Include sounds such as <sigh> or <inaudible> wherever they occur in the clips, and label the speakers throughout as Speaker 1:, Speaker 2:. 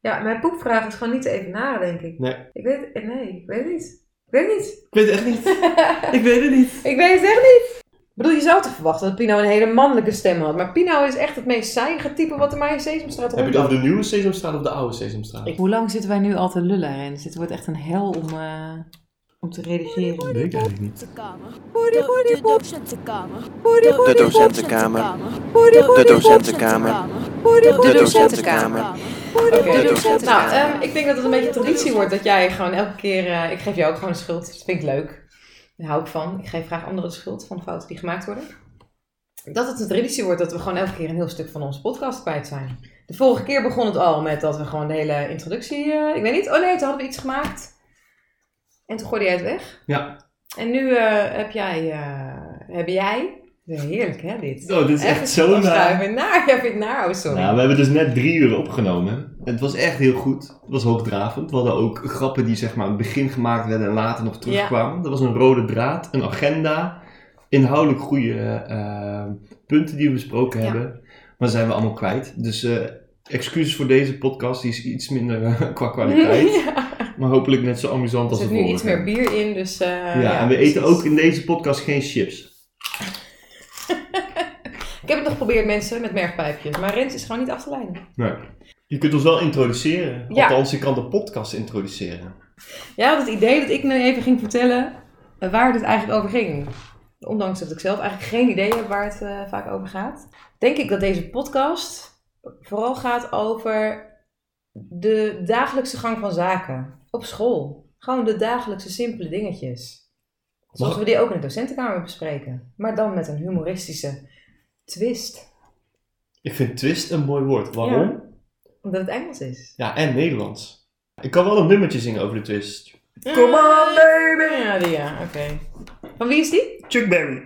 Speaker 1: Ja, mijn poepvraag is gewoon niet te evenaren, denk ik.
Speaker 2: Nee.
Speaker 1: Ik weet het, nee, ik weet het niet. Ik weet het niet.
Speaker 2: Ik weet het echt niet. Ik weet het niet.
Speaker 1: ik weet het echt niet. Ik bedoel, je zou te verwachten dat Pino een hele mannelijke stem had. Maar Pino is echt het meest saaiige type wat er maar in Sesamstraat
Speaker 2: Heb je
Speaker 1: rondloopt.
Speaker 2: het over de nieuwe Sesamstraat of de oude Sesamstraat?
Speaker 3: Hoe lang zitten wij nu al te lullen, Rens? Dit wordt echt een hel om, eh, om te redigeren.
Speaker 2: weet ik eigenlijk niet.
Speaker 4: De docentenkamer.
Speaker 5: De docentenkamer.
Speaker 4: De
Speaker 5: docentenkamer.
Speaker 4: De
Speaker 5: docentenkamer.
Speaker 1: Oké.
Speaker 5: De
Speaker 1: Nou,
Speaker 5: docentenkamer.
Speaker 1: ehm, ik denk dat het een beetje traditie wordt dat jij gewoon elke keer... eh, ik geef jou ook gewoon de schuld. Dat vind ik leuk. Daar hou ik van. Ik geef graag anderen de schuld van de fouten die gemaakt worden. Dat het een traditie wordt dat we gewoon elke keer een heel stuk van onze podcast kwijt zijn. De vorige keer begon het al met dat we gewoon de hele introductie... eh, ik weet niet. Oh nee, toen hadden we iets gemaakt. En toen gooide jij het weg.
Speaker 2: Ja.
Speaker 1: En nu eh, heb jij... eh, heb jij... Heerlijk hè, dit.
Speaker 2: Oh, dit is echt, zo
Speaker 1: naar.
Speaker 2: naar.
Speaker 1: Vind naar. Ja, vind naar. Oh, sorry.
Speaker 2: Nou, we hebben dus net drie uur opgenomen. Het was echt heel goed. Het was hoogdravend. We hadden ook grappen die zeg maar aan het begin gemaakt werden en later nog terugkwamen. Er was een rode draad, een agenda, inhoudelijk goede eh, punten die we besproken
Speaker 1: Ja.
Speaker 2: hebben. Maar zijn we allemaal kwijt. Dus eh, excuses voor deze podcast, die is iets minder eh, qua
Speaker 1: <laughs>
Speaker 2: kwaliteit.
Speaker 1: Ja.
Speaker 2: maar hopelijk net zo amusant
Speaker 1: Er
Speaker 2: als de
Speaker 1: zit nu
Speaker 2: vorige.
Speaker 1: iets meer bier in, dus... eh,
Speaker 2: ja, en we eten
Speaker 1: precies.
Speaker 2: ook in deze podcast geen chips.
Speaker 1: Ik heb het nog geprobeerd, mensen, met mergpijpjes. Maar Rens is gewoon niet af te leiden.
Speaker 2: Nee. Je kunt ons wel introduceren.
Speaker 1: Ja.
Speaker 2: Althans, je kan de podcast introduceren.
Speaker 1: Ja, want het idee dat ik nu even ging vertellen eh, waar dit eigenlijk over ging. Ondanks dat ik zelf eigenlijk geen idee heb waar het eh, vaak over gaat. Denk ik dat deze podcast vooral gaat over de dagelijkse gang van zaken. Op school. Gewoon de dagelijkse simpele dingetjes. Zoals
Speaker 2: Mag-
Speaker 1: we die ook in de docentenkamer bespreken. Maar dan met een humoristische twist.
Speaker 2: Ik vind twist een mooi woord. Waarom? Ja,
Speaker 1: Omdat het Engels is.
Speaker 2: en Nederlands. Ik kan wel een nummertje zingen over de twist.
Speaker 1: Come on, baby! Ja, die ja, oké. Van wie is die?
Speaker 2: Chuck Berry.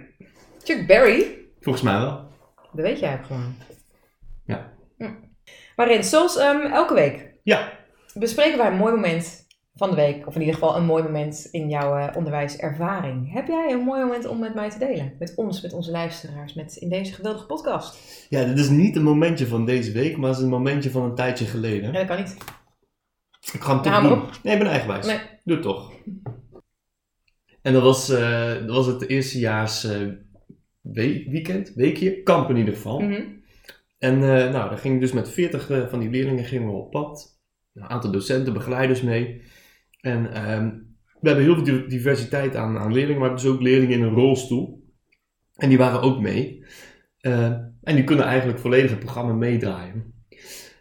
Speaker 1: Chuck Berry?
Speaker 2: Volgens mij wel.
Speaker 1: Dat weet jij ook gewoon.
Speaker 2: Ja.
Speaker 1: Hm. Maar Rens, zoals ehm, elke week
Speaker 2: Ja.
Speaker 1: bespreken wij een mooi moment van de week. Of in ieder geval een mooi moment in jouw eh, onderwijservaring. Heb jij een mooi moment om met mij te delen? Met ons, met onze luisteraars, met in deze geweldige podcast.
Speaker 2: Ja, dit is niet een momentje van deze week, maar het is een momentje van een tijdje geleden.
Speaker 1: Ja, dat kan niet.
Speaker 2: Ik ga hem toch
Speaker 1: Ja, maar
Speaker 2: doen.
Speaker 1: op.
Speaker 2: Nee, ik ben eigenwijs.
Speaker 1: Nee.
Speaker 2: Doe het toch. En dat was, eh, dat was het eerstejaars eh, we- weekend, weekje, kamp in ieder geval.
Speaker 1: Mhm.
Speaker 2: En eh, nou, dan ging ik dus met 40 eh, van die leerlingen gingen we op pad. Nou, Een aantal docenten, begeleiders mee. En ehm, we hebben heel veel di- diversiteit aan, aan leerlingen, maar we hebben dus ook leerlingen in een rolstoel. En die waren ook mee. Eh, en die kunnen eigenlijk volledig het programma meedraaien.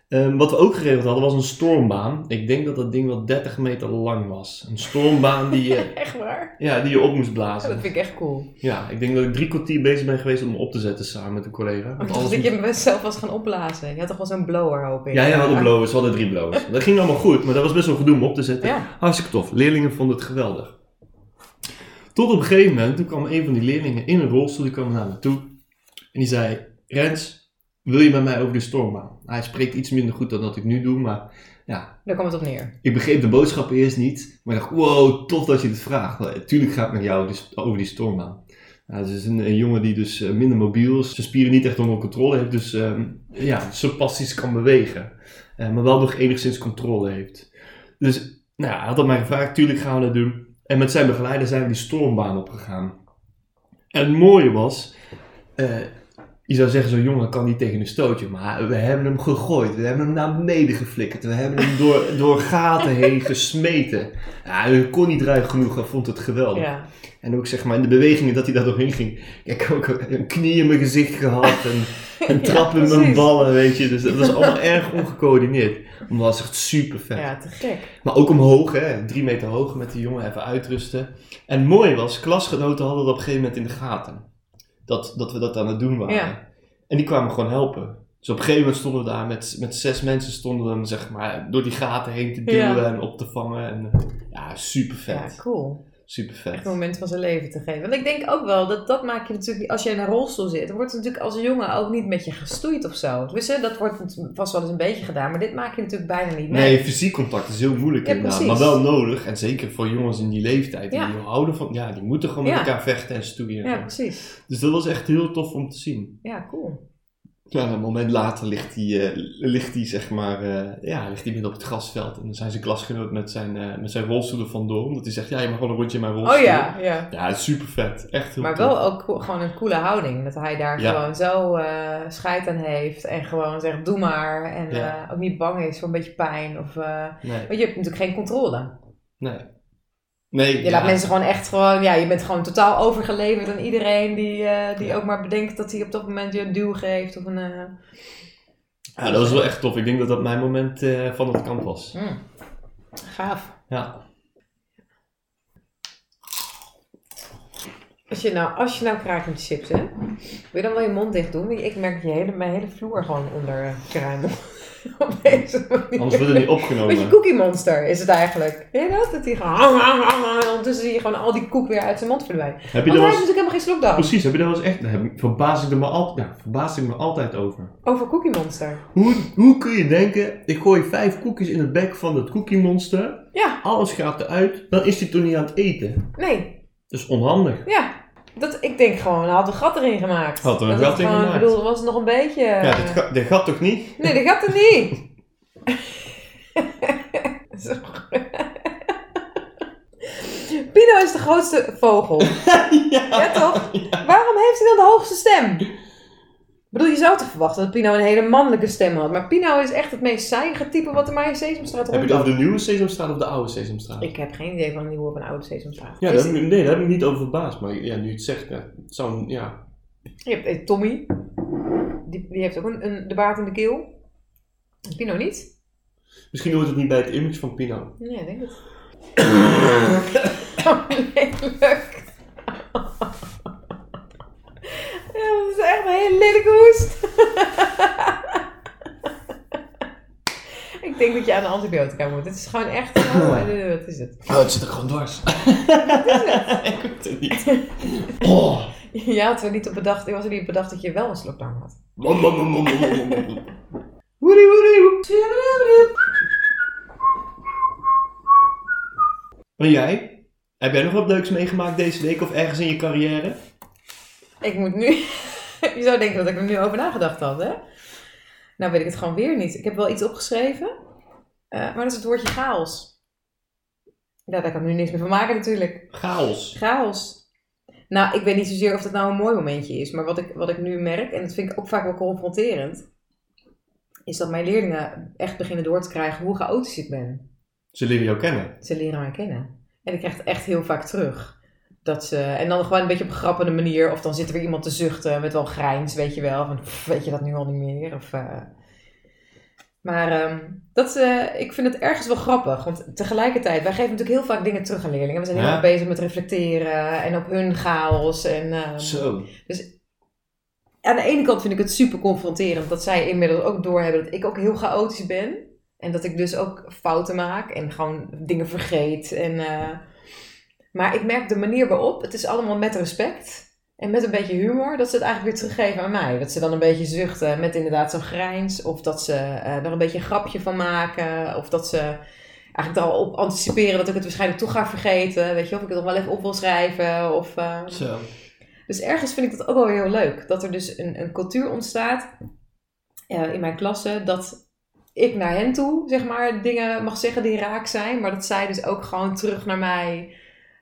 Speaker 2: Ehm, wat we ook geregeld hadden was een stormbaan. Ik denk dat dat ding wel 30 meter lang was. Een stormbaan die
Speaker 1: <laughs>
Speaker 2: je,
Speaker 1: Echt waar?
Speaker 2: ja, die je op moest
Speaker 1: Ja,
Speaker 2: blazen.
Speaker 1: dat vind ik echt cool.
Speaker 2: Ja, ik denk dat ik drie kwartier bezig ben geweest om hem op te zetten samen met een collega. Want
Speaker 1: Ik
Speaker 2: alles
Speaker 1: dacht Oh, dat
Speaker 2: moest-
Speaker 1: je hem best zelf was gaan opblazen. Je had toch wel zo'n blower, hoop ik.
Speaker 2: Ja, ja, we hadden blowers, we hadden drie blowers. Dat ging allemaal goed, maar dat was best wel gedoe om op te zetten.
Speaker 1: Ja.
Speaker 2: Hartstikke tof. Leerlingen vonden het geweldig. Tot op een gegeven moment, toen kwam een van die leerlingen in een rolstoel, die kwam naar me toe. En die zei, Rens, wil je met mij over de stormbaan? Hij spreekt iets minder goed dan dat ik nu doe, maar ja,
Speaker 1: Daar kwam het op neer.
Speaker 2: ik begreep de boodschap eerst niet. Maar ik dacht, wow, tof dat je dit vraagt. Nou, Tuurlijk ga ik met jou dus over die stormbaan. Nou, het is een, een jongen die dus eh, minder mobiel is. Zijn spieren niet echt onder controle heeft. Dus ehm, ja, spastisch kan bewegen. Eh, maar wel nog enigszins controle heeft. Dus nou, ja, hij had dat mij gevraagd. Tuurlijk gaan we dat doen. En met zijn begeleider zijn we die stormbaan opgegaan. En het mooie was... eh, je zou zeggen, zo'n jongen kan niet tegen een stootje. Maar we hebben hem gegooid. We hebben hem naar beneden geflikkerd. We hebben hem door, door gaten heen <laughs> gesmeten. Ja, hij kon niet ruig genoeg. Hij vond het geweldig.
Speaker 1: Ja.
Speaker 2: En ook zeg maar in de bewegingen dat hij daar doorheen ging. Ik heb ook een knie in mijn gezicht gehad
Speaker 1: <laughs>
Speaker 2: en een trap in mijn
Speaker 1: precies.
Speaker 2: ballen, weet je. Dus dat was allemaal <laughs> erg ongecoördineerd. Maar dat was echt super vet.
Speaker 1: Ja, te gek.
Speaker 2: Maar ook omhoog, hè, drie meter hoog met die jongen even uitrusten. En mooi was, klasgenoten hadden dat op een gegeven moment in de gaten. Dat, dat we dat aan het doen waren.
Speaker 1: Ja.
Speaker 2: En die kwamen gewoon helpen. Dus op een gegeven moment stonden we daar met, met zes mensen stonden we hem zeg maar door die gaten heen te duwen
Speaker 1: Ja.
Speaker 2: en op te vangen. En, ja, super
Speaker 1: Ja,
Speaker 2: vet.
Speaker 1: cool.
Speaker 2: Super
Speaker 1: echt
Speaker 2: vet.
Speaker 1: een moment van zijn leven te geven. Want ik denk ook wel, dat, dat maak je natuurlijk, niet- als je in een rolstoel zit, dan wordt het natuurlijk als jongen ook niet met je gestoeid of zo. Dus hè, dat wordt nat- vast wel eens een beetje gedaan, maar dit maak je natuurlijk bijna niet mee.
Speaker 2: Nee, fysiek contact is heel moeilijk
Speaker 1: Ja,
Speaker 2: inderdaad,
Speaker 1: precies.
Speaker 2: maar wel nodig. En zeker voor jongens in die leeftijd,
Speaker 1: Ja.
Speaker 2: die houden van, ja, die moeten gewoon
Speaker 1: Ja.
Speaker 2: met elkaar vechten en stoeien.
Speaker 1: Ja, precies.
Speaker 2: Dus dat was echt heel tof om te zien.
Speaker 1: Ja, cool.
Speaker 2: Ja, een moment later ligt hij, eh, ligt hij zeg maar, eh, ja, ligt hij midden op het grasveld. En dan zijn zijn klasgenoot met zijn, eh, met zijn rolstoel er vandoor. Omdat hij zegt, ja, je mag gewoon een rondje in mijn rolstoel.
Speaker 1: Oh ja, ja.
Speaker 2: Ja, super vet. Echt heel
Speaker 1: Maar
Speaker 2: tof.
Speaker 1: wel ook co- gewoon een coole houding. Dat hij daar
Speaker 2: Ja.
Speaker 1: gewoon zo eh scheid aan heeft. En gewoon zegt, doe maar. En
Speaker 2: Ja.
Speaker 1: eh, ook niet bang is voor een beetje pijn. Of, eh,
Speaker 2: Nee,
Speaker 1: want je hebt natuurlijk geen controle.
Speaker 2: nee. Nee,
Speaker 1: Je
Speaker 2: ja.
Speaker 1: laat mensen gewoon echt gewoon, ja, je bent gewoon totaal overgeleverd aan iedereen die, eh, die ook maar bedenkt dat hij op dat moment je een duw geeft of een. eh,
Speaker 2: Ja, dat was wel echt tof. Ik denk dat dat mijn moment eh, van het kamp was.
Speaker 1: mm, gaaf. <laughs>
Speaker 2: Ja.
Speaker 1: Als je nou, als je nou kraakt met chips, hè, wil je dan wel je mond dicht doen? Want ik merk dat je hele, mijn hele vloer gewoon onder eh, kruimel. <laughs> op deze manier.
Speaker 2: Anders wordt het niet
Speaker 1: <laughs> Een beetje
Speaker 2: opgenomen.
Speaker 1: cookie monster is het eigenlijk. Weet je dat? Dat hij gewoon... En ondertussen zie je gewoon al die koek weer uit zijn mond verdwijnen.
Speaker 2: Heb je
Speaker 1: Want
Speaker 2: dat
Speaker 1: hij
Speaker 2: wel
Speaker 1: heeft
Speaker 2: eens...
Speaker 1: natuurlijk helemaal geen slokdarm.
Speaker 2: Precies, heb je dat wel eens echt... Daar heb ik- verbaas ik, er me al... ja, verbaas ik me altijd over.
Speaker 1: Over cookie monster.
Speaker 2: Hoe, hoe kun je denken, ik gooi vijf koekjes in het bek van dat cookie monster.
Speaker 1: Ja.
Speaker 2: Alles gaat eruit. Dan is hij toch niet aan het eten.
Speaker 1: Nee,
Speaker 2: Dat is onhandig.
Speaker 1: Ja, dat, ik denk gewoon, hij had een gat erin gemaakt.
Speaker 2: Had er een
Speaker 1: Dat het
Speaker 2: gat in
Speaker 1: gewoon-
Speaker 2: gemaakt.
Speaker 1: Ik bedoel, er was nog een beetje...
Speaker 2: Ja, dat, ga- dat gaat toch <laughs> niet?
Speaker 1: Nee, dat gaat er
Speaker 2: <laughs>
Speaker 1: niet. <laughs> Zo. Pino is de grootste vogel. ja.
Speaker 2: <laughs>
Speaker 1: toch? Waarom heeft hij dan de hoogste stem? Ik bedoel, je zou toch verwachten dat Pino een hele mannelijke stem had. Maar Pino is echt het meest saaiige type wat er maar in Sesamstraat
Speaker 2: Heb je
Speaker 1: rondloopt.
Speaker 2: het over de nieuwe Sesamstraat of de oude Sesamstraat?
Speaker 1: Ik heb geen idee van een nieuwe of een oude Sesamstraat.
Speaker 2: ja,
Speaker 1: Is-
Speaker 2: daar heb ik, nee, daar heb ik niet over verbaasd. Maar ja, nu je het zegt, ja, het zou een- ja.
Speaker 1: Je hebt eh, Tommy. Die, die heeft ook een, een, de baard in de keel. Pino niet?
Speaker 2: Misschien hoort het niet bij het image van Pino. <laughs>
Speaker 1: Nee, ik denk het. Oh, lelijk. Ja, dat is echt een hele lelijke hoest. Ik denk dat je aan de antibiotica moet. Het is gewoon echt... Oh, eh, wat is het?
Speaker 2: Oh, het zit er gewoon dwars. ik weet het niet.
Speaker 1: <laughs>
Speaker 2: Oh.
Speaker 1: Je had er niet op bedacht... Ik was er niet op bedacht dat je wel een slokdarm had.
Speaker 2: Nom, nom, nom, nom, nom, nom, nom.
Speaker 1: Woody, woody, woody.
Speaker 2: En jij? Heb jij nog wat leuks meegemaakt deze week of ergens in je carrière?
Speaker 1: Ik moet nu. <laughs> je zou denken dat ik er nu over nagedacht had, hè? Nou weet ik het gewoon weer niet. Ik heb wel iets opgeschreven, eh, maar dat is het woordje chaos. Ja, daar kan ik nu niks meer van maken, natuurlijk.
Speaker 2: Chaos.
Speaker 1: Chaos. Nou, ik weet niet zozeer of dat nou een mooi momentje is, maar wat ik, wat ik nu merk, en dat vind ik ook vaak wel confronterend, is dat mijn leerlingen echt beginnen door te krijgen hoe chaotisch ik ben
Speaker 2: Ze leren jou kennen.
Speaker 1: ze leren mij kennen. En ik krijg het echt heel vaak terug. Dat ze, en dan gewoon een beetje op een grappende manier. Of dan zit er weer iemand te zuchten met wel grijns, weet je wel. Van, "Pff, weet je dat nu al niet meer? Of, eh. Maar ehm, dat, eh, ik vind het ergens wel grappig. Want tegelijkertijd, wij geven natuurlijk heel vaak dingen terug aan leerlingen. We zijn heel
Speaker 2: Ja.
Speaker 1: erg bezig met reflecteren en op hun chaos. En, ehm,
Speaker 2: Zo.
Speaker 1: aan de ene kant vind ik het super confronterend dat zij inmiddels ook doorhebben dat ik ook heel chaotisch ben. En dat ik dus ook fouten maak en gewoon dingen vergeet. En, eh, maar ik merk de manier waarop, het is allemaal met respect en met een beetje humor, dat ze het eigenlijk weer teruggeven aan mij. Dat ze dan een beetje zuchten met inderdaad zo'n grijns. Of dat ze eh er een beetje een grapje van maken. Of dat ze eigenlijk er al op anticiperen dat ik het waarschijnlijk toch ga vergeten. Weet je, of ik het nog wel even op wil schrijven. Of, eh,
Speaker 2: Zo.
Speaker 1: dus ergens vind ik dat ook wel weer heel leuk. Dat er dus een, een cultuur ontstaat eh, in mijn klasse. Dat ik naar hen toe, zeg maar, dingen mag zeggen die raak zijn. Maar dat zij dus ook gewoon terug naar mij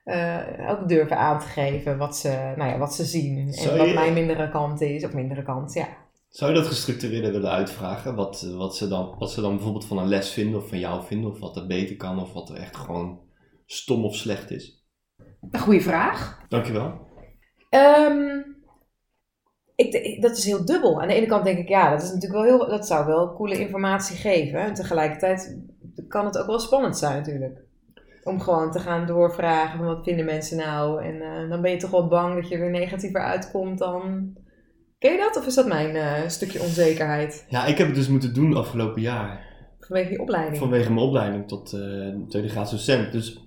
Speaker 1: eh, ook durven aan te geven wat ze, nou ja, wat ze zien.
Speaker 2: Zou
Speaker 1: En wat
Speaker 2: je-
Speaker 1: mijn mindere kant is. Of mindere kant, ja.
Speaker 2: Zou je dat gestructureerder willen uitvragen? Wat, eh, wat, ze dan, wat ze dan bijvoorbeeld van een les vinden of van jou vinden? Of wat er beter kan of wat er echt gewoon stom of slecht is?
Speaker 1: Een goede vraag.
Speaker 2: Dankjewel.
Speaker 1: Ehm, ik, ik- dat is heel dubbel. Aan de ene kant denk ik, ja, dat, is natuurlijk wel heel, dat zou wel coole informatie geven. En tegelijkertijd kan het ook wel spannend zijn natuurlijk. Om gewoon te gaan doorvragen van wat vinden mensen nou. En eh, dan ben je toch wel bang dat je er negatiever uitkomt dan... Ken je dat? Of is dat mijn eh, stukje onzekerheid?
Speaker 2: Ja, ik heb het dus moeten doen afgelopen jaar.
Speaker 1: Vanwege die opleiding?
Speaker 2: Vanwege mijn opleiding tot eh tweede graads docent. Dus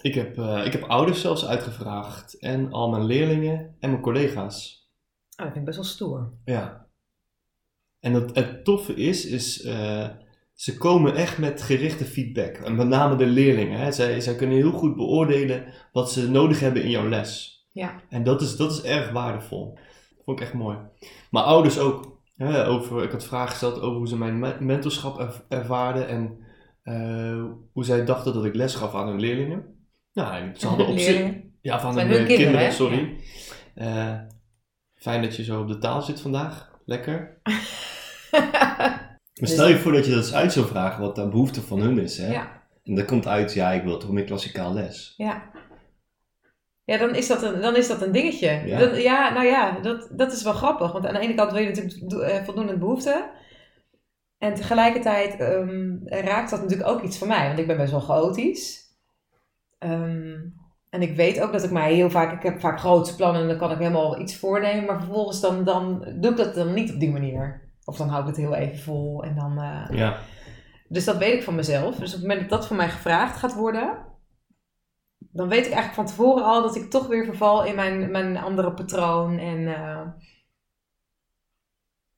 Speaker 2: ik heb, eh, ik heb ouders zelfs uitgevraagd. En al mijn leerlingen en mijn collega's.
Speaker 1: Oh, dat vind ik best wel stoer.
Speaker 2: Ja. En het, het toffe is, is eh, ze komen echt met gerichte feedback. En met name de leerlingen. Hè. Zij, zij kunnen heel goed beoordelen wat ze nodig hebben in jouw les.
Speaker 1: Ja.
Speaker 2: En dat is, dat is erg waardevol. Vond ik echt mooi. Maar ouders ook. hè, over, ik had vragen gesteld over hoe ze mijn me- mentorschap er- ervaarden en eh, hoe zij dachten dat ik les gaf aan hun leerlingen. Nou, en ze hadden op zich...
Speaker 1: Leerlingen.
Speaker 2: Ja, van
Speaker 1: Van
Speaker 2: hun,
Speaker 1: hun
Speaker 2: eh,
Speaker 1: kinderen,
Speaker 2: kinderen,
Speaker 1: hè?
Speaker 2: sorry. Eh, fijn dat je zo op de taal zit vandaag.
Speaker 1: <laughs>
Speaker 2: Lekker. Maar stel je voor dat je dat eens uit zou vragen, wat de behoefte van hun is. Hè?
Speaker 1: Ja.
Speaker 2: En dat komt uit, ja, ik wil toch meer klassikaal les.
Speaker 1: Ja, dan is dat een, dan is dat een dingetje.
Speaker 2: Ja.
Speaker 1: Ja, ja nou ja, dat, dat is wel grappig. Want aan de ene kant wil je natuurlijk do- eh, voldoende behoefte. En tegelijkertijd ehm, raakt dat natuurlijk ook iets van mij. Want ik ben best wel chaotisch. Ehm, en ik weet ook dat ik mij heel vaak... Ik heb vaak grote plannen en dan kan ik helemaal iets voornemen. Maar vervolgens dan, dan doe ik dat dan niet op die manier. Of dan hou ik het heel even vol en dan... eh,
Speaker 2: Ja.
Speaker 1: dus dat weet ik van mezelf. Dus op het moment dat dat van mij gevraagd gaat worden, dan weet ik eigenlijk van tevoren al dat ik toch weer verval in mijn, mijn andere patroon. En, eh,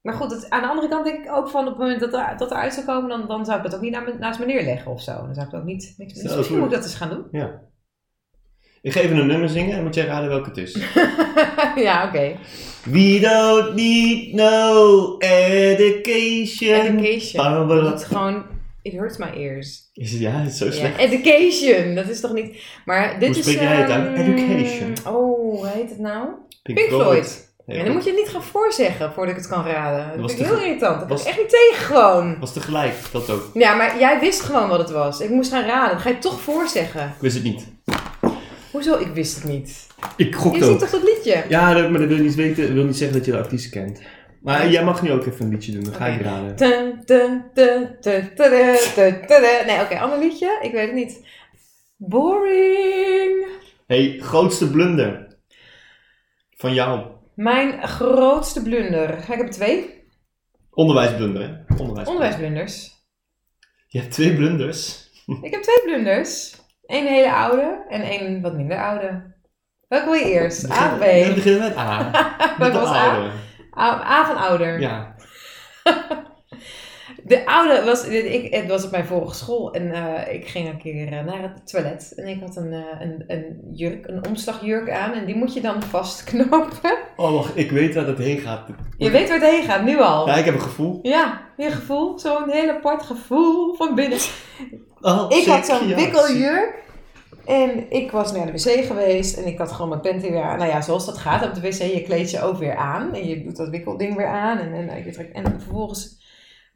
Speaker 1: Maar goed, het- aan de andere kant denk ik ook van op het moment dat, er, dat eruit zou komen, dan, dan zou ik het ook niet na- naast me neerleggen of zo. Dan zou ik het ook niet. niks-
Speaker 2: Stel je
Speaker 1: Dus misschien
Speaker 2: voor-
Speaker 1: moet ik dat eens gaan doen. <laughs>
Speaker 2: Ik ga even een nummer zingen en moet jij raden welke het is. <laughs>
Speaker 1: ja, oké.
Speaker 2: We don't need no education.
Speaker 1: Education.
Speaker 2: Barbara.
Speaker 1: Dat is gewoon. It hurts my ears.
Speaker 2: Is het, ja, het is zo
Speaker 1: Ja,
Speaker 2: slecht.
Speaker 1: education, dat is toch niet. Maar dit
Speaker 2: Hoe
Speaker 1: is.
Speaker 2: spreek jij het uit?
Speaker 1: ehm,
Speaker 2: Education.
Speaker 1: Oh, hoe heet het nou? Pink Floyd.
Speaker 2: Ja,
Speaker 1: en dan moet je het niet gaan voorzeggen voordat ik het kan raden. Dat
Speaker 2: was
Speaker 1: vind ik
Speaker 2: te-
Speaker 1: heel irritant. Dat was...
Speaker 2: was-
Speaker 1: ik echt niet tegen gewoon.
Speaker 2: Was tegelijk, dat ook.
Speaker 1: Ja, maar jij wist gewoon wat het was. Ik moest gaan raden. Dan ga je het toch voorzeggen.
Speaker 2: Ik wist het niet.
Speaker 1: Hoezo? Ik wist het niet.
Speaker 2: Ik gok
Speaker 1: Je ziet toch dat liedje?
Speaker 2: Ja, dat- maar dat wil niet, weten, dat wil niet zeggen dat je de artiest kent. Maar jij mag nu ook even een liedje doen, dan ga ik
Speaker 1: Oké.
Speaker 2: raden.
Speaker 1: Te, te, te, te, te, te, te, te. Nee, oké, ander liedje. Ik weet het niet. Boring.
Speaker 2: hey, grootste blunder van jou.
Speaker 1: Mijn grootste blunder. Ga ik hebben twee?
Speaker 2: Onderwijsblunder, hè? Onderwijsblunder.
Speaker 1: Onderwijsblunders.
Speaker 2: Je hebt twee blunders.
Speaker 1: Ik heb twee blunders. Eén hele oude en één wat minder oude. Welke wil je
Speaker 2: <laughs>
Speaker 1: eerst? A of B?
Speaker 2: We beginnen met
Speaker 1: <laughs>
Speaker 2: A. met de
Speaker 1: was A?
Speaker 2: oude.
Speaker 1: A, A van ouder.
Speaker 2: Ja.
Speaker 1: De oude was, ik, het was op mijn vorige school en eh, ik ging een keer eh, naar het toilet. En ik had een, eh, een, een jurk, een omslagjurk aan en die moet je dan vastknopen.
Speaker 2: Oh, wacht, ik weet waar dat heen gaat.
Speaker 1: Je weet waar het heen gaat, nu al.
Speaker 2: Ja, ik heb een gevoel.
Speaker 1: Ja, je gevoel, zo'n heel apart gevoel van binnen.
Speaker 2: Oh,
Speaker 1: Ik had
Speaker 2: sick,
Speaker 1: zo'n
Speaker 2: ja, sick.
Speaker 1: wikkeljurk. En ik was naar de wc geweest en ik had gewoon mijn panty weer aan. Nou ja, zoals dat gaat op de wc, je kleedt je ook weer aan. En je doet dat wikkelding weer aan. En, en, eh, je trekt, en vervolgens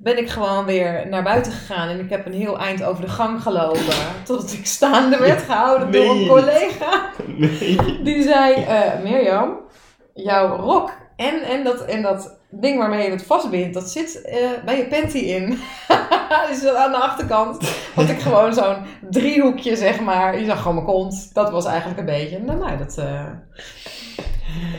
Speaker 1: ben ik gewoon weer naar buiten gegaan. En ik heb een heel eind over de gang gelopen. <laughs> Totdat ik staande werd gehouden door
Speaker 2: Nee.
Speaker 1: een collega.
Speaker 2: Nee.
Speaker 1: <laughs> Die zei, eh, Mirjam, jouw rok en, en, dat, en dat ding waarmee je het vastbindt, dat zit eh, bij je panty in. <laughs> dus dat aan de achterkant had ik gewoon zo'n driehoekje, zeg maar. Je zag gewoon mijn kont. Dat was eigenlijk een beetje. Nou, nou dat eh,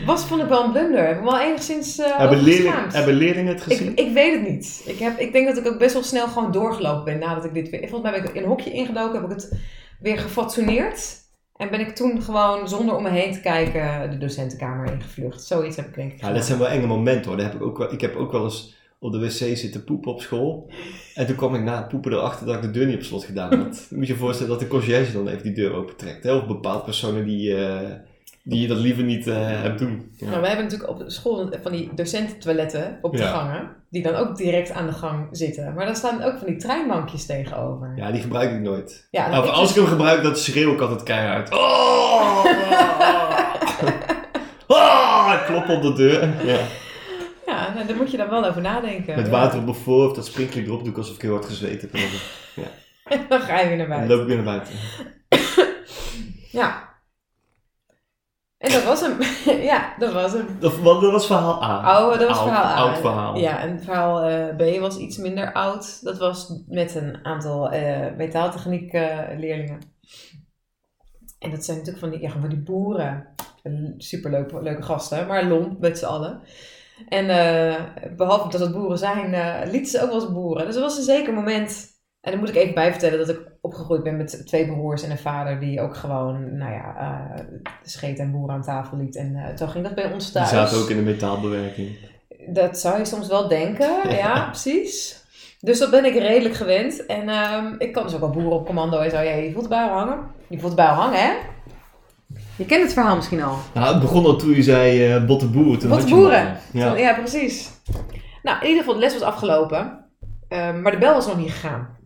Speaker 1: was, vond ik wel een blunder. Heb ik me wel enigszins eh
Speaker 2: Hebben, leerling,
Speaker 1: overgeschaamd.
Speaker 2: hebben leerlingen het gezien?
Speaker 1: Ik, ik weet het niet. Ik, heb, ik denk dat ik ook best wel snel gewoon doorgelopen ben nadat ik dit weer... Volgens mij ben ik in een hokje ingedoken, heb ik het weer gefatsoeneerd. En ben ik toen gewoon zonder om me heen te kijken de docentenkamer ingevlucht. Zoiets heb ik denk ik
Speaker 2: Ja, dat zijn wel enge momenten hoor. Daar heb ik, ook wel, ik heb ook wel eens op de wc zitten poepen op school. En toen kwam ik na het poepen erachter dat ik de deur niet op slot gedaan had. Dan moet je je voorstellen dat de conciërge dan even die deur opentrekt. Hè? Of bepaalde personen die, eh, die je dat liever niet eh, hebt doen.
Speaker 1: Nou,
Speaker 2: Ja.
Speaker 1: we hebben natuurlijk op school van die docententoiletten op de
Speaker 2: Ja.
Speaker 1: gangen. Die dan ook direct aan de gang zitten. Maar daar staan ook van die treinbankjes tegenover.
Speaker 2: ja, die gebruik ik nooit.
Speaker 1: Ja,
Speaker 2: Nou,
Speaker 1: ik-
Speaker 2: als ik hem gebruik, dan schreeuw ik altijd keihard. Oh! Ah, klop op de deur. Ja.
Speaker 1: ja, nou, daar moet je dan wel over nadenken.
Speaker 2: Met
Speaker 1: Ja.
Speaker 2: water op mijn voorhoofd, dat sprinkje erop, doe ik alsof ik heel hard gezeten heb.
Speaker 1: <laughs> dan ga je weer naar
Speaker 2: En dan
Speaker 1: buiten.
Speaker 2: loop ik weer naar buiten.
Speaker 1: Ja. En dat was hem. <laughs> ja, dat was hem.
Speaker 2: Dat, want dat was verhaal A.
Speaker 1: Oh, dat was
Speaker 2: Oud-
Speaker 1: verhaal A.
Speaker 2: Oud verhaal.
Speaker 1: Ja, en verhaal eh, B was iets minder oud. Dat was met een aantal eh metaaltechniek eh, leerlingen. En dat zijn natuurlijk van die, ja, van die boeren. Superleuk, leuke gasten, maar lomp met z'n allen. En eh, behalve dat het boeren zijn, eh lieten ze ook wel eens boeren. Dus dat was een zeker moment. En dan moet ik even bij vertellen dat ik opgegroeid ben met twee broers en een vader die ook gewoon, nou ja, eh scheet en boeren aan tafel liet. En eh, zo ging dat bij ons
Speaker 2: Die
Speaker 1: thuis.
Speaker 2: zaten ook in de metaalbewerking.
Speaker 1: Dat zou je soms wel denken, ja, precies. Dus dat ben ik redelijk gewend. En ehm, ik kan dus ook al boeren op commando en zo. Ja, je voelt de buil hangen. Je voelt de buil hangen, hè? Je kent het verhaal misschien al.
Speaker 2: Nou, het begon al toen je zei eh botte boeren. Toen
Speaker 1: Botte
Speaker 2: had je hem
Speaker 1: boeren.
Speaker 2: al.
Speaker 1: Van-
Speaker 2: Ja.
Speaker 1: ja precies. Nou, in ieder geval, de les was afgelopen. Ehm, maar de bel was nog niet gegaan.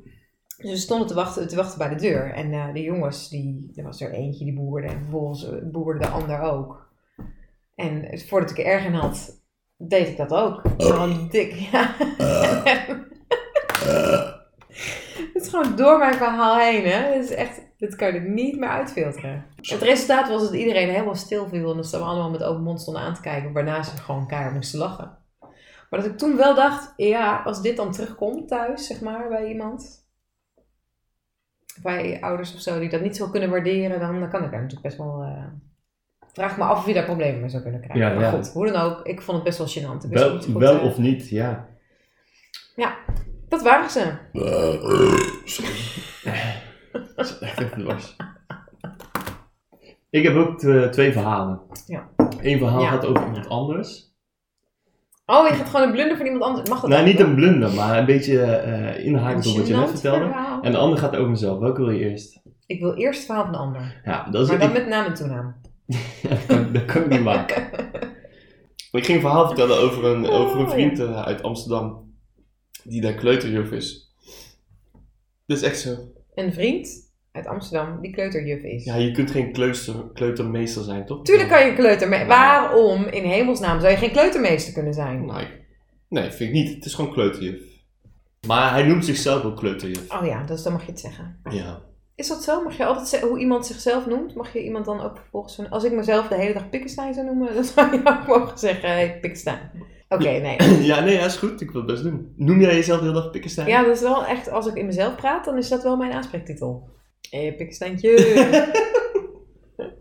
Speaker 1: Dus we stonden te wachten, te wachten bij de deur. En eh, de jongens, die, er was er eentje die boerde. En vervolgens eh, boerde de ander ook. En het- voordat ik er erg in had, deed ik dat ook. Gewoon dik, ja. <laughs> Het is gewoon door mijn verhaal heen, hè. Het is echt, dit kan je er niet meer uitfilteren. Het resultaat was dat iedereen helemaal stil viel. En dat ze allemaal met open mond stonden aan te kijken. Waarna ze gewoon keihard moesten lachen. Maar dat ik toen wel dacht, ja, als dit dan terugkomt thuis, zeg maar, bij iemand. Bij ouders of zo, die dat niet zo kunnen waarderen, dan, dan kan ik daar natuurlijk best wel... eh, vraag me af of je daar problemen mee zou kunnen krijgen.
Speaker 2: Ja,
Speaker 1: maar
Speaker 2: ja.
Speaker 1: goed, hoe dan ook, ik vond het best wel gênant. Best
Speaker 2: Wel,
Speaker 1: niet goed,
Speaker 2: wel
Speaker 1: eh,
Speaker 2: of niet, ja. <laughs>
Speaker 1: Dat waren ze.
Speaker 2: Dat is echt even dwars. Ik heb ook tw- twee verhalen.
Speaker 1: Ja.
Speaker 2: Eén verhaal
Speaker 1: Ja.
Speaker 2: gaat over iemand anders.
Speaker 1: Oh, je gaat gewoon een blunder van iemand anders. Mag dat
Speaker 2: Nou,
Speaker 1: ook?
Speaker 2: niet een blunder, maar een beetje eh inhakend op
Speaker 1: Een
Speaker 2: wat je net
Speaker 1: gênant
Speaker 2: vertelde.
Speaker 1: verhaal.
Speaker 2: En de ander gaat over mezelf. Welke wil je eerst?
Speaker 1: Ik wil eerst het verhaal van de ander.
Speaker 2: Ja, dat is
Speaker 1: Maar dan
Speaker 2: ik,
Speaker 1: met naam en toenaam.
Speaker 2: dat, kan, dat kan ik
Speaker 1: <laughs>
Speaker 2: niet maken. Maar ik ging een verhaal vertellen over een, over een
Speaker 1: Oh,
Speaker 2: vriend eh, uit Amsterdam. Die daar kleuterjuf is. Dat is echt zo.
Speaker 1: Een vriend uit Amsterdam die kleuterjuf is.
Speaker 2: Ja, je kunt geen kleuter, kleutermeester zijn, toch?
Speaker 1: Tuurlijk kan je kleutermeester... Waarom in hemelsnaam zou je geen kleutermeester kunnen zijn?
Speaker 2: Nee. nee, vind ik niet. Het is gewoon kleuterjuf. Maar hij noemt zichzelf ook kleuterjuf.
Speaker 1: Oh ja, dus dan mag je het zeggen.
Speaker 2: Ja. <clears throat>
Speaker 1: Is dat zo? Mag je altijd zeggen hoe iemand zichzelf noemt? Mag je iemand dan ook vervolgens... Een, als ik mezelf de hele dag Pikkenstein zou noemen, <laughs> dan zou je ook mogen zeggen, hey, Pikkenstein. Oké,
Speaker 2: <laughs>
Speaker 1: nee.
Speaker 2: ja, nee, dat is goed. Ik wil het best doen. Noem jij jezelf de hele dag Pikkenstein?
Speaker 1: Ja, dat is wel echt, als ik in mezelf praat, dan is dat wel mijn aanspreektitel. Hé, hey, pikkensteintje. <laughs>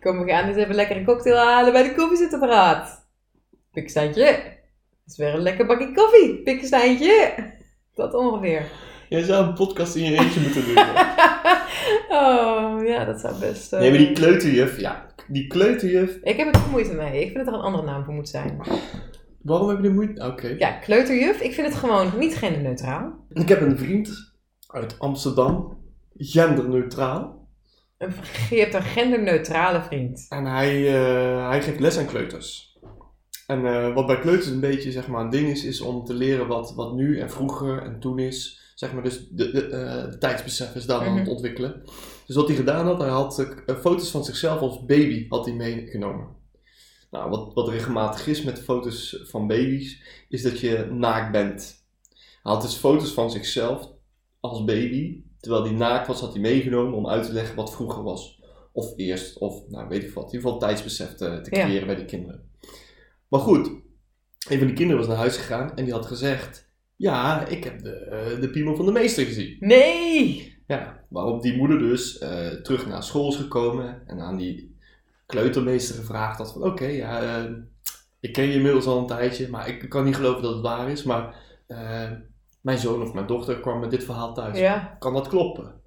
Speaker 1: Kom, we gaan eens even lekker een cocktail halen bij de koffiezetapparaat. Pikkensteintje. Het is weer een lekker bakje koffie. Pikkensteintje. Dat ongeveer.
Speaker 2: Jij zou een podcast in je eentje moeten doen. hè?
Speaker 1: <laughs> Oh, ja, dat zou best... eh,
Speaker 2: nee, maar die kleuterjuf, ja. Die kleuterjuf.
Speaker 1: Ik heb het moeite mee. Ik vind dat er een andere naam voor moet zijn.
Speaker 2: Waarom heb je de moeite? Oké.
Speaker 1: Ja, kleuterjuf. Ik vind het gewoon niet genderneutraal.
Speaker 2: Ik heb een vriend uit Amsterdam. Genderneutraal.
Speaker 1: Een- Je hebt een genderneutrale vriend.
Speaker 2: En hij, eh, hij geeft les aan kleuters. En eh, wat bij kleuters een beetje zeg maar, een ding is, is om te leren wat, wat nu en vroeger en toen is. Zeg maar, dus de, de, eh, het tijdsbesef is daar aan het
Speaker 1: Mhm.
Speaker 2: ontwikkelen. Dus wat hij gedaan had, hij had eh, foto's van zichzelf als baby had hij meegenomen. Nou, wat, wat regelmatig is met foto's van baby's, is dat je naakt bent. Hij had dus foto's van zichzelf als baby, terwijl hij naakt was, had hij meegenomen om uit te leggen wat vroeger was. Of eerst, of nou weet ik wat. In ieder geval tijdsbesef te, te
Speaker 1: Ja.
Speaker 2: creëren bij die kinderen. Maar goed, een van die kinderen was naar huis gegaan en die had gezegd... Ja, ik heb de, eh, de piemel van de meester gezien.
Speaker 1: Nee!
Speaker 2: Ja, waarop die moeder dus eh, terug naar school is gekomen en aan die kleutermeester gevraagd had van oké, ja, eh, ik ken je inmiddels al een tijdje, maar ik kan niet geloven dat het waar is, maar eh, mijn zoon of mijn dochter kwam met dit verhaal thuis.
Speaker 1: Ja.
Speaker 2: Kan dat kloppen?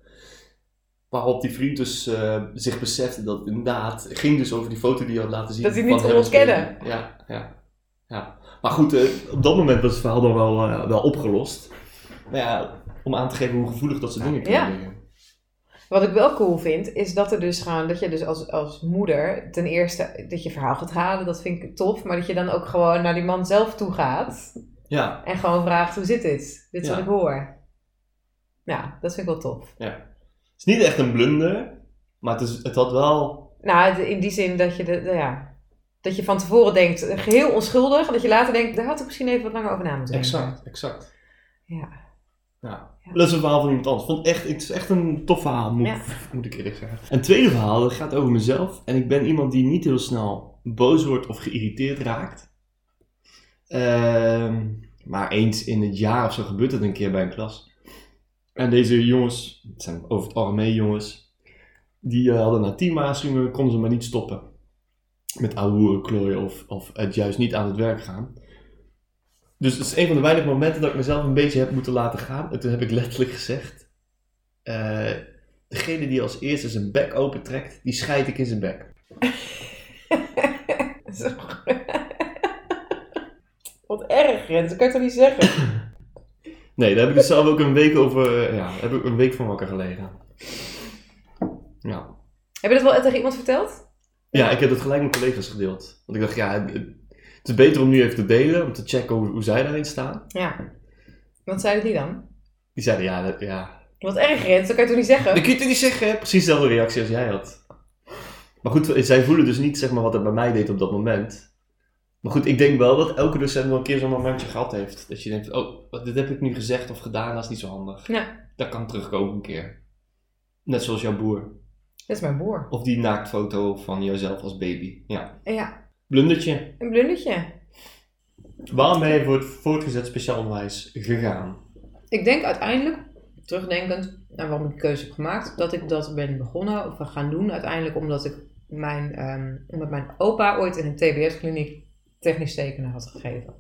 Speaker 2: Waarop die vriend dus eh, zich besefte dat het inderdaad het ging dus over die foto die hij had laten zien.
Speaker 1: Dat hij
Speaker 2: van
Speaker 1: niet
Speaker 2: hem
Speaker 1: kon
Speaker 2: als baby.
Speaker 1: ontkennen.
Speaker 2: Ja, ja, ja. Maar goed, eh, op dat moment was het verhaal dan wel, eh, wel opgelost. Maar ja, om aan te geven hoe gevoelig dat soort dingen kunnen
Speaker 1: Ja.
Speaker 2: liggen.
Speaker 1: Wat ik wel cool vind, is dat er dus gewoon, dat je dus als, als moeder ten eerste dat je verhaal gaat halen, dat vind ik tof, maar dat je dan ook gewoon naar die man zelf toe gaat
Speaker 2: Ja,
Speaker 1: en gewoon vraagt, hoe zit dit? Dit is
Speaker 2: Ja.
Speaker 1: wat ik hoor. Ja, dat vind ik wel tof.
Speaker 2: het is niet echt een blunder, maar het, is, het had wel...
Speaker 1: Nou, het- in die zin dat je, de, de- ja, dat je van tevoren denkt, eh, geheel onschuldig, en dat je later denkt, daar had ik misschien even wat langer over na moeten denken. <laughs>
Speaker 2: exact.
Speaker 1: Ja.
Speaker 2: Ja.
Speaker 1: Ja.
Speaker 2: Dat is een verhaal van iemand anders. Vond echt, het is echt een tof verhaal, moet,
Speaker 1: Ja.
Speaker 2: <laughs> moet ik eerlijk zeggen. En het tweede verhaal, dat gaat over mezelf. En ik ben iemand die niet heel snel boos wordt of geïrriteerd raakt. Ehm, maar eens in het jaar of zo gebeurt dat een keer bij een klas. En deze jongens, het zijn over het algemeen jongens, die eh, hadden na tien waarschuwingen, konden ze maar niet stoppen. Met ouwe klooien of, of het juist niet aan het werk gaan. Dus het is een van de weinige momenten dat ik mezelf een beetje heb moeten laten gaan. En toen heb ik letterlijk gezegd: eh, Degene die als eerste zijn bek opentrekt, die scheid ik in zijn bek.
Speaker 1: Zo. wat erg, Rens, dat kan je toch niet zeggen?
Speaker 2: Nee, daar heb ik dus zelf ook een week over. eh, Ja, daar heb ik een week van wakker gelegen. Ja.
Speaker 1: Heb je dat wel tegen iemand verteld?
Speaker 2: ja, ik heb dat gelijk met collega's gedeeld. Want ik dacht, ja, eh, Het is beter om nu even te delen, om te checken hoe, hoe zij daarin staan.
Speaker 1: Ja. Wat zeiden die dan?
Speaker 2: Die zeiden, ja, dat, ja.
Speaker 1: Wat erg, Rens. Dat kan je toch niet zeggen?
Speaker 2: Dan kun je het niet zeggen, hè? Precies dezelfde reactie als jij had. Maar goed, zij voelen dus niet zeg maar, wat het bij mij deed op dat moment. Maar goed, ik denk wel dat elke docent wel een keer zo'n momentje gehad heeft. Dat je denkt, oh, wat- dit heb ik nu gezegd of gedaan, dat is niet zo handig.
Speaker 1: Ja.
Speaker 2: Dat kan terugkomen een keer. Net zoals jouw boer.
Speaker 1: Dat is mijn boer.
Speaker 2: Of die naaktfoto van jouzelf als baby. Ja.
Speaker 1: Ja,
Speaker 2: Blundertje.
Speaker 1: een blundertje.
Speaker 2: Waarom ben je voor het voortgezet speciaal onderwijs gegaan?
Speaker 1: Ik denk uiteindelijk, terugdenkend naar waarom ik die keuze heb gemaakt, dat ik dat ben begonnen of ben gaan doen. Uiteindelijk omdat ik mijn, ehm, omdat mijn opa ooit in een TBS-kliniek technisch tekenen had gegeven.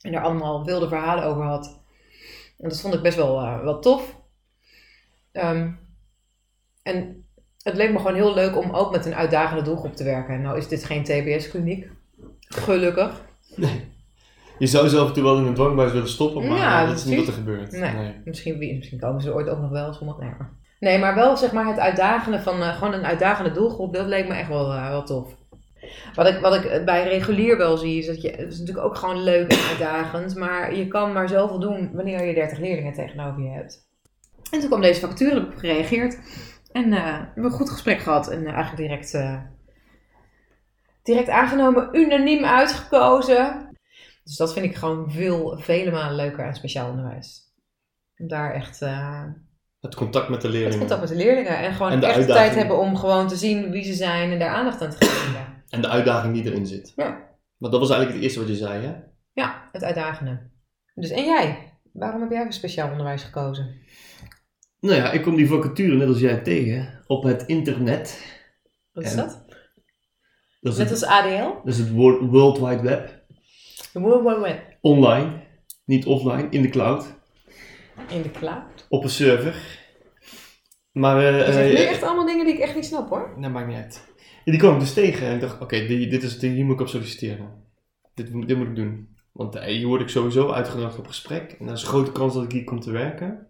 Speaker 1: En daar allemaal wilde verhalen over had. En dat vond ik best wel, eh, wel tof. Ehm, en het leek me gewoon heel leuk om ook met een uitdagende doelgroep te werken. En nou is dit geen TBS-kliniek. Gelukkig.
Speaker 2: Je zou zelf natuurlijk wel in een dwangbuis willen stoppen, maar
Speaker 1: Ja,
Speaker 2: dat is niet
Speaker 1: precies.
Speaker 2: wat er gebeurt.
Speaker 1: Nee. Misschien, wie- misschien komen ze er ooit ook nog wel, sommige. Nee, maar, nee, maar wel zeg maar het uitdagende van eh, gewoon een uitdagende doelgroep, dat leek me echt wel, eh, wel tof. Wat ik, wat ik bij regulier wel zie, is dat je, het is natuurlijk ook gewoon leuk en uitdagend, maar je kan maar zoveel doen wanneer je 30 leerlingen tegenover je hebt. En toen kwam deze factuur, heb ik gereageerd en eh, we hebben een goed gesprek gehad en eh, eigenlijk direct, eh, direct aangenomen, unaniem uitgekozen. Dus dat vind ik gewoon veel, vele malen leuker aan speciaal onderwijs om daar echt eh,
Speaker 2: Het contact met de
Speaker 1: het
Speaker 2: leerlingen.
Speaker 1: contact met de leerlingen. En gewoon
Speaker 2: En de
Speaker 1: echt de tijd
Speaker 2: uitdaging.
Speaker 1: hebben om gewoon te zien wie ze zijn en daar aandacht aan te geven.
Speaker 2: En de uitdaging die erin zit.
Speaker 1: Ja.
Speaker 2: Want dat was eigenlijk het eerste wat je zei, hè?
Speaker 1: ja, het uitdagende. Dus en jij? Waarom heb jij voor speciaal onderwijs gekozen?
Speaker 2: Nou ja, ik kom die vacature net als jij tegen op het internet.
Speaker 1: Wat is
Speaker 2: En-
Speaker 1: dat?
Speaker 2: Dat is,
Speaker 1: Net
Speaker 2: het,
Speaker 1: als ADL?
Speaker 2: dat is het woord World Wide Web.
Speaker 1: De World Wide Web.
Speaker 2: Online, niet offline, in de cloud,
Speaker 1: In de cloud.
Speaker 2: op een server. Maar eh,
Speaker 1: Dat zijn
Speaker 2: eh,
Speaker 1: nu echt allemaal dingen die ik echt niet snap hoor.
Speaker 2: Nee, maakt niet uit. En die kwam ik dus tegen en ik dacht, oké, die- dit is- hier moet ik op solliciteren. Dit, moet- dit moet ik doen. Want eh, hier word ik sowieso uitgenodigd op gesprek. En er is een grote kans dat ik hier kom te werken.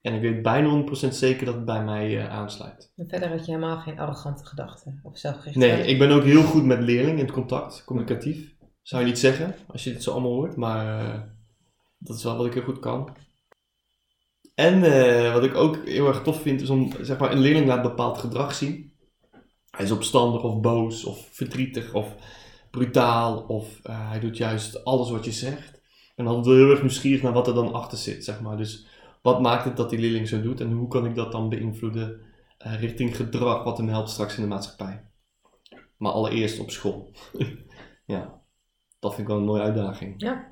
Speaker 2: En ik weet bijna 100% zeker dat het bij mij eh, aansluit.
Speaker 1: En verder had je helemaal geen arrogante gedachten of zelfgerichtheid.
Speaker 2: Nee, ik ben ook heel goed met leerlingen in het contact, communicatief. Zou je niet zeggen, als je dit zo allemaal hoort. Maar eh, dat is wel wat ik heel goed kan. En eh, wat ik ook heel erg tof vind, is om zeg maar, een leerling laat bepaald gedrag zien. Hij is opstandig of boos of verdrietig of brutaal of eh, hij doet juist alles wat je zegt. En dan wel heel erg nieuwsgierig naar wat er dan achter zit, zeg maar. Dus wat maakt het dat die leerling zo doet en hoe kan ik dat dan beïnvloeden eh, richting gedrag wat hem helpt straks in de maatschappij. Maar allereerst op school. <laughs> ja, dat vind ik wel een mooie uitdaging.
Speaker 1: Ja.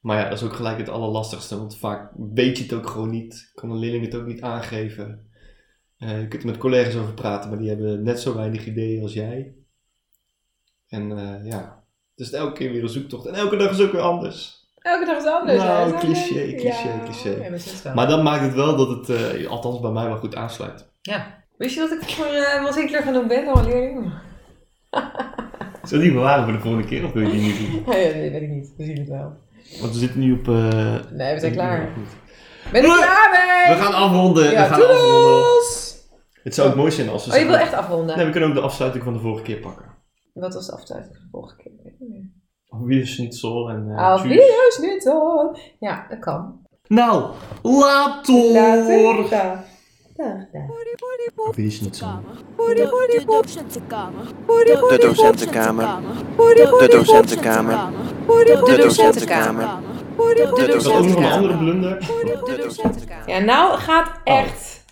Speaker 2: Maar ja, dat is ook gelijk het allerlastigste, want vaak weet je het ook gewoon niet. Kan een leerling het ook niet aangeven. Eh, je kunt er met collega's over praten, maar die hebben net zo weinig ideeën als jij. En eh, ja, dus elke keer weer een zoektocht. En elke dag is ook weer anders.
Speaker 1: Elke dag is anders.
Speaker 2: Nou,
Speaker 1: hè? Is dat
Speaker 2: cliché,
Speaker 1: leuk?
Speaker 2: cliché,
Speaker 1: Ja,
Speaker 2: cliché.
Speaker 1: ja, dat is het wel.
Speaker 2: Maar dat maakt het wel dat het, eh, althans bij mij, wel goed aansluit.
Speaker 1: Wist je dat ik voor eh, wat Hitler gaan doen ben? Al een leerling? <laughs>
Speaker 2: Zou die bewaren voor de volgende keer of wil je die niet doen?
Speaker 1: Nee, dat weet ik niet. We zien het wel.
Speaker 2: Want we zitten nu op... eh,
Speaker 1: Nee, we zijn
Speaker 2: ik-
Speaker 1: klaar.
Speaker 2: goed.
Speaker 1: Ben je
Speaker 2: Doei!
Speaker 1: klaar mee?
Speaker 2: We gaan afronden.
Speaker 1: Ja,
Speaker 2: we gaan
Speaker 1: doedels!
Speaker 2: afronden. Het zou ook mooi zijn als we...
Speaker 1: Oh, je wil
Speaker 2: zeg
Speaker 1: echt afronden?
Speaker 2: maar- Nee, we kunnen ook de afsluiting van de vorige keer pakken.
Speaker 1: Wat was de afsluiting van de vorige keer? Ik weet het niet.
Speaker 2: Wie is niet zo en eh,
Speaker 1: Auf
Speaker 2: tjus.
Speaker 1: Wiedersehen. Ja, dat kan.
Speaker 2: Nou, later!
Speaker 1: Later. Dag. Dag, dag.
Speaker 2: Wie is niet zo?
Speaker 4: De docentenkamer.
Speaker 5: De docentenkamer.
Speaker 4: De
Speaker 5: docentenkamer.
Speaker 4: De
Speaker 5: docentenkamer.
Speaker 4: De
Speaker 2: Dat is ook nog een andere
Speaker 4: docentenkamer.
Speaker 2: blunder.
Speaker 5: De docentenkamer.
Speaker 1: Ja, nou gaat
Speaker 2: Oh.
Speaker 1: echt.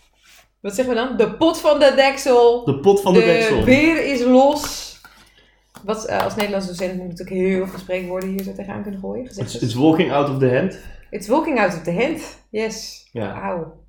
Speaker 1: Wat zeggen we dan? De pot van de deksel.
Speaker 2: De pot van de, deksel.
Speaker 1: beer is los. Wat, eh, als Nederlands docent moet ik natuurlijk heel veel spreekwoorden hier zo tegenaan kunnen gooien.
Speaker 2: It's,
Speaker 1: Gezegd.
Speaker 2: it's walking out of the hand.
Speaker 1: It's walking out of the hand. Yes.
Speaker 2: Ja.
Speaker 1: Auw.